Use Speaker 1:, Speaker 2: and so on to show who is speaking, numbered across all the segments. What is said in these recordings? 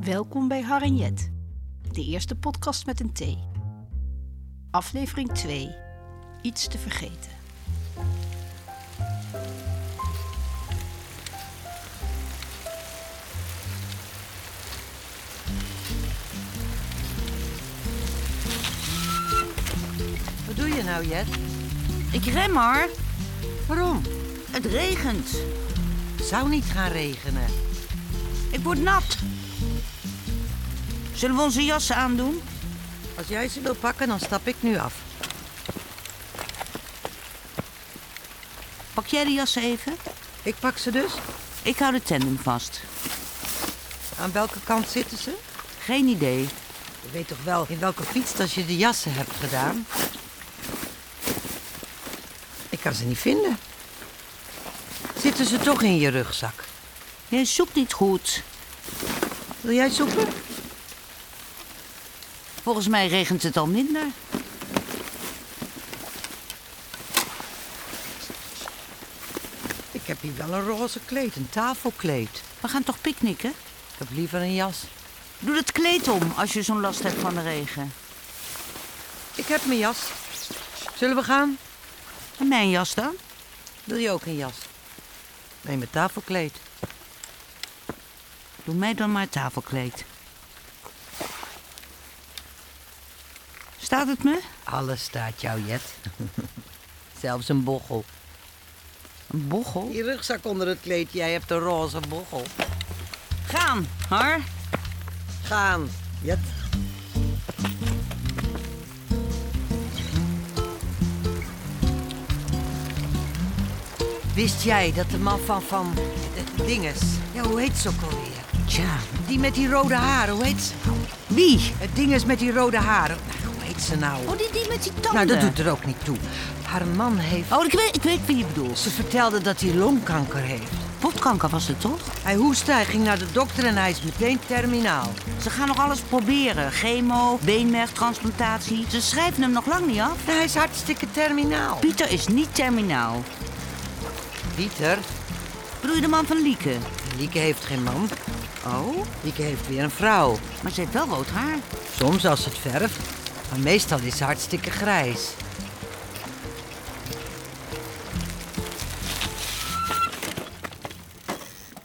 Speaker 1: Welkom bij Harenjet, de eerste podcast met een T. Aflevering 2, iets te vergeten.
Speaker 2: Wat doe je nou, Jet?
Speaker 3: Ik rem hoor.
Speaker 2: Waarom?
Speaker 3: Het regent.
Speaker 2: Zou niet gaan regenen.
Speaker 3: Ik word nat. Zullen we onze jassen aandoen?
Speaker 2: Als jij ze wil pakken, dan stap ik nu af.
Speaker 3: Pak jij de jassen even?
Speaker 2: Ik pak ze dus.
Speaker 3: Ik hou de tandem vast.
Speaker 2: Aan welke kant zitten ze?
Speaker 3: Geen idee.
Speaker 2: Je weet toch wel in welke fietstas je de jassen hebt gedaan? Ik kan ze niet vinden. Zitten ze toch in je rugzak?
Speaker 3: Jij zoekt niet goed.
Speaker 2: Wil jij zoeken?
Speaker 3: Volgens mij regent het al minder.
Speaker 2: Ik heb hier wel een roze kleed, een tafelkleed.
Speaker 3: We gaan toch picknicken?
Speaker 2: Ik heb liever een jas.
Speaker 3: Doe dat kleed om als je zo'n last hebt van de regen.
Speaker 2: Ik heb mijn jas. Zullen we gaan?
Speaker 3: En mijn jas dan?
Speaker 2: Wil je ook een jas? Nee, mijn tafelkleed.
Speaker 3: Doe mij dan maar het tafelkleed. Staat het me?
Speaker 2: Alles staat jou, Jet. Zelfs een bochel.
Speaker 3: Een bochel.
Speaker 2: Die rugzak onder het kleed, jij hebt een roze bochel.
Speaker 3: Gaan, hoor.
Speaker 2: Gaan, Jet. Wist jij dat de man van van de dinges, ja hoe heet ze ook alweer?
Speaker 3: Tja,
Speaker 2: Die met die rode haren, hoe heet ze?
Speaker 3: wie?
Speaker 2: Het dinges met die rode haren. Nou, hoe heet ze nou?
Speaker 3: Oh, die, die met die tanden.
Speaker 2: nou, dat doet er ook niet toe. Haar man heeft.
Speaker 3: Oh, ik weet, ik weet wie je bedoelt.
Speaker 2: Ze vertelde dat hij longkanker heeft.
Speaker 3: Potkanker was het toch?
Speaker 2: Hij hoestte, hij ging naar de dokter en hij is meteen terminaal.
Speaker 3: Ze gaan nog alles proberen. Chemo, beenmergtransplantatie. Ze schrijven hem nog lang niet af.
Speaker 2: Nee, hij is hartstikke terminaal.
Speaker 3: Pieter is niet terminaal.
Speaker 2: Pieter,
Speaker 3: Bedoel je de man van Lieke?
Speaker 2: Lieke heeft geen man.
Speaker 3: Oh,
Speaker 2: Lieke heeft weer een vrouw.
Speaker 3: maar ze heeft wel rood haar.
Speaker 2: Soms als het verft, maar meestal is ze hartstikke grijs.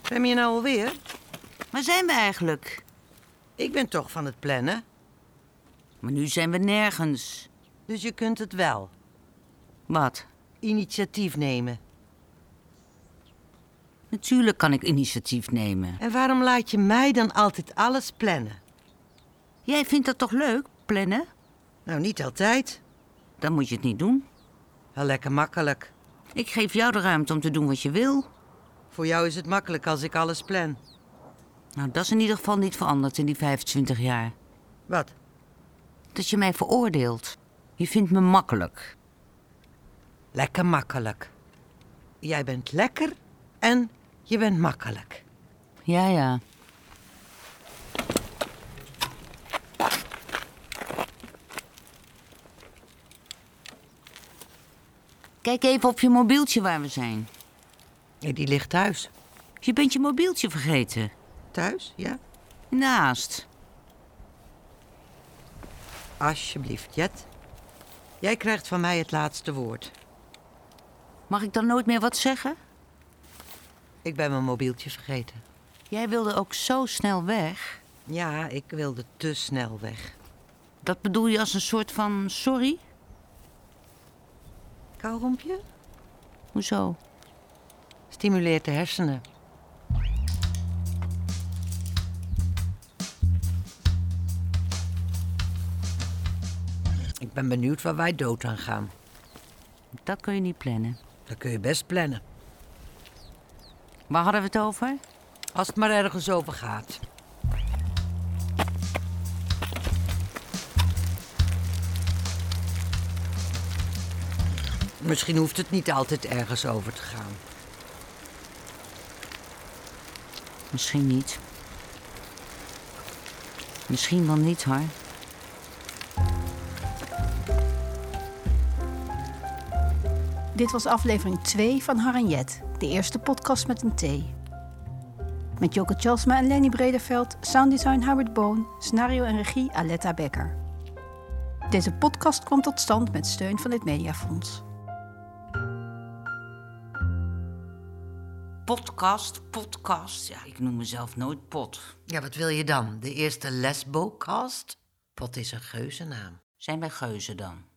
Speaker 2: Rem je nou alweer?
Speaker 3: Waar zijn we eigenlijk?
Speaker 2: Ik ben toch van het plannen,
Speaker 3: Maar nu zijn we nergens.
Speaker 2: dus je kunt het wel.
Speaker 3: Wat?
Speaker 2: Initiatief nemen.
Speaker 3: Natuurlijk kan ik initiatief nemen.
Speaker 2: En waarom laat je mij dan altijd alles plannen?
Speaker 3: Jij vindt dat toch leuk, plannen?
Speaker 2: Nou, niet altijd.
Speaker 3: Dan moet je het niet doen.
Speaker 2: Wel lekker makkelijk.
Speaker 3: Ik geef jou de ruimte om te doen wat je wil.
Speaker 2: Voor jou is het makkelijk als ik alles plan.
Speaker 3: Nou, dat is in ieder geval niet veranderd in die 25 jaar.
Speaker 2: Wat?
Speaker 3: Dat je mij veroordeelt. Je vindt me makkelijk.
Speaker 2: Lekker makkelijk. Jij bent lekker en je bent makkelijk.
Speaker 3: Ja, ja. Kijk even op je mobieltje waar we zijn.
Speaker 2: Ja, die ligt thuis.
Speaker 3: Je bent je mobieltje vergeten.
Speaker 2: Thuis, ja?
Speaker 3: Naast.
Speaker 2: Alsjeblieft, Jet. Jij krijgt van mij het laatste woord.
Speaker 3: Mag ik dan nooit meer wat zeggen?
Speaker 2: Ik ben mijn mobieltje vergeten.
Speaker 3: Jij wilde ook zo snel weg.
Speaker 2: Ja, ik wilde te snel weg.
Speaker 3: Dat bedoel je als een soort van sorry?
Speaker 2: Kauwrompje?
Speaker 3: Hoezo?
Speaker 2: Stimuleert de hersenen. Ik ben benieuwd waar wij dood aan gaan.
Speaker 3: Dat kun je niet plannen.
Speaker 2: Dat kun je best plannen.
Speaker 3: Waar hadden we het over?
Speaker 2: Als het maar ergens over gaat. Misschien hoeft het niet altijd ergens over te gaan.
Speaker 3: Misschien niet. Misschien wel niet, hoor.
Speaker 1: Dit was aflevering 2 van Harenjet, de eerste podcast met een T. Met Joke Tjalsma en Lenny Bredeveld, sounddesign Howard Boon, scenario en regie Aletta Becker. Deze podcast kwam tot stand met steun van het Mediafonds.
Speaker 3: Podcast, podcast. Ja, ik noem mezelf nooit pot.
Speaker 2: Ja, wat wil je dan? De eerste lesbocast? Pot is een geuzennaam.
Speaker 3: Zijn wij geuzen dan?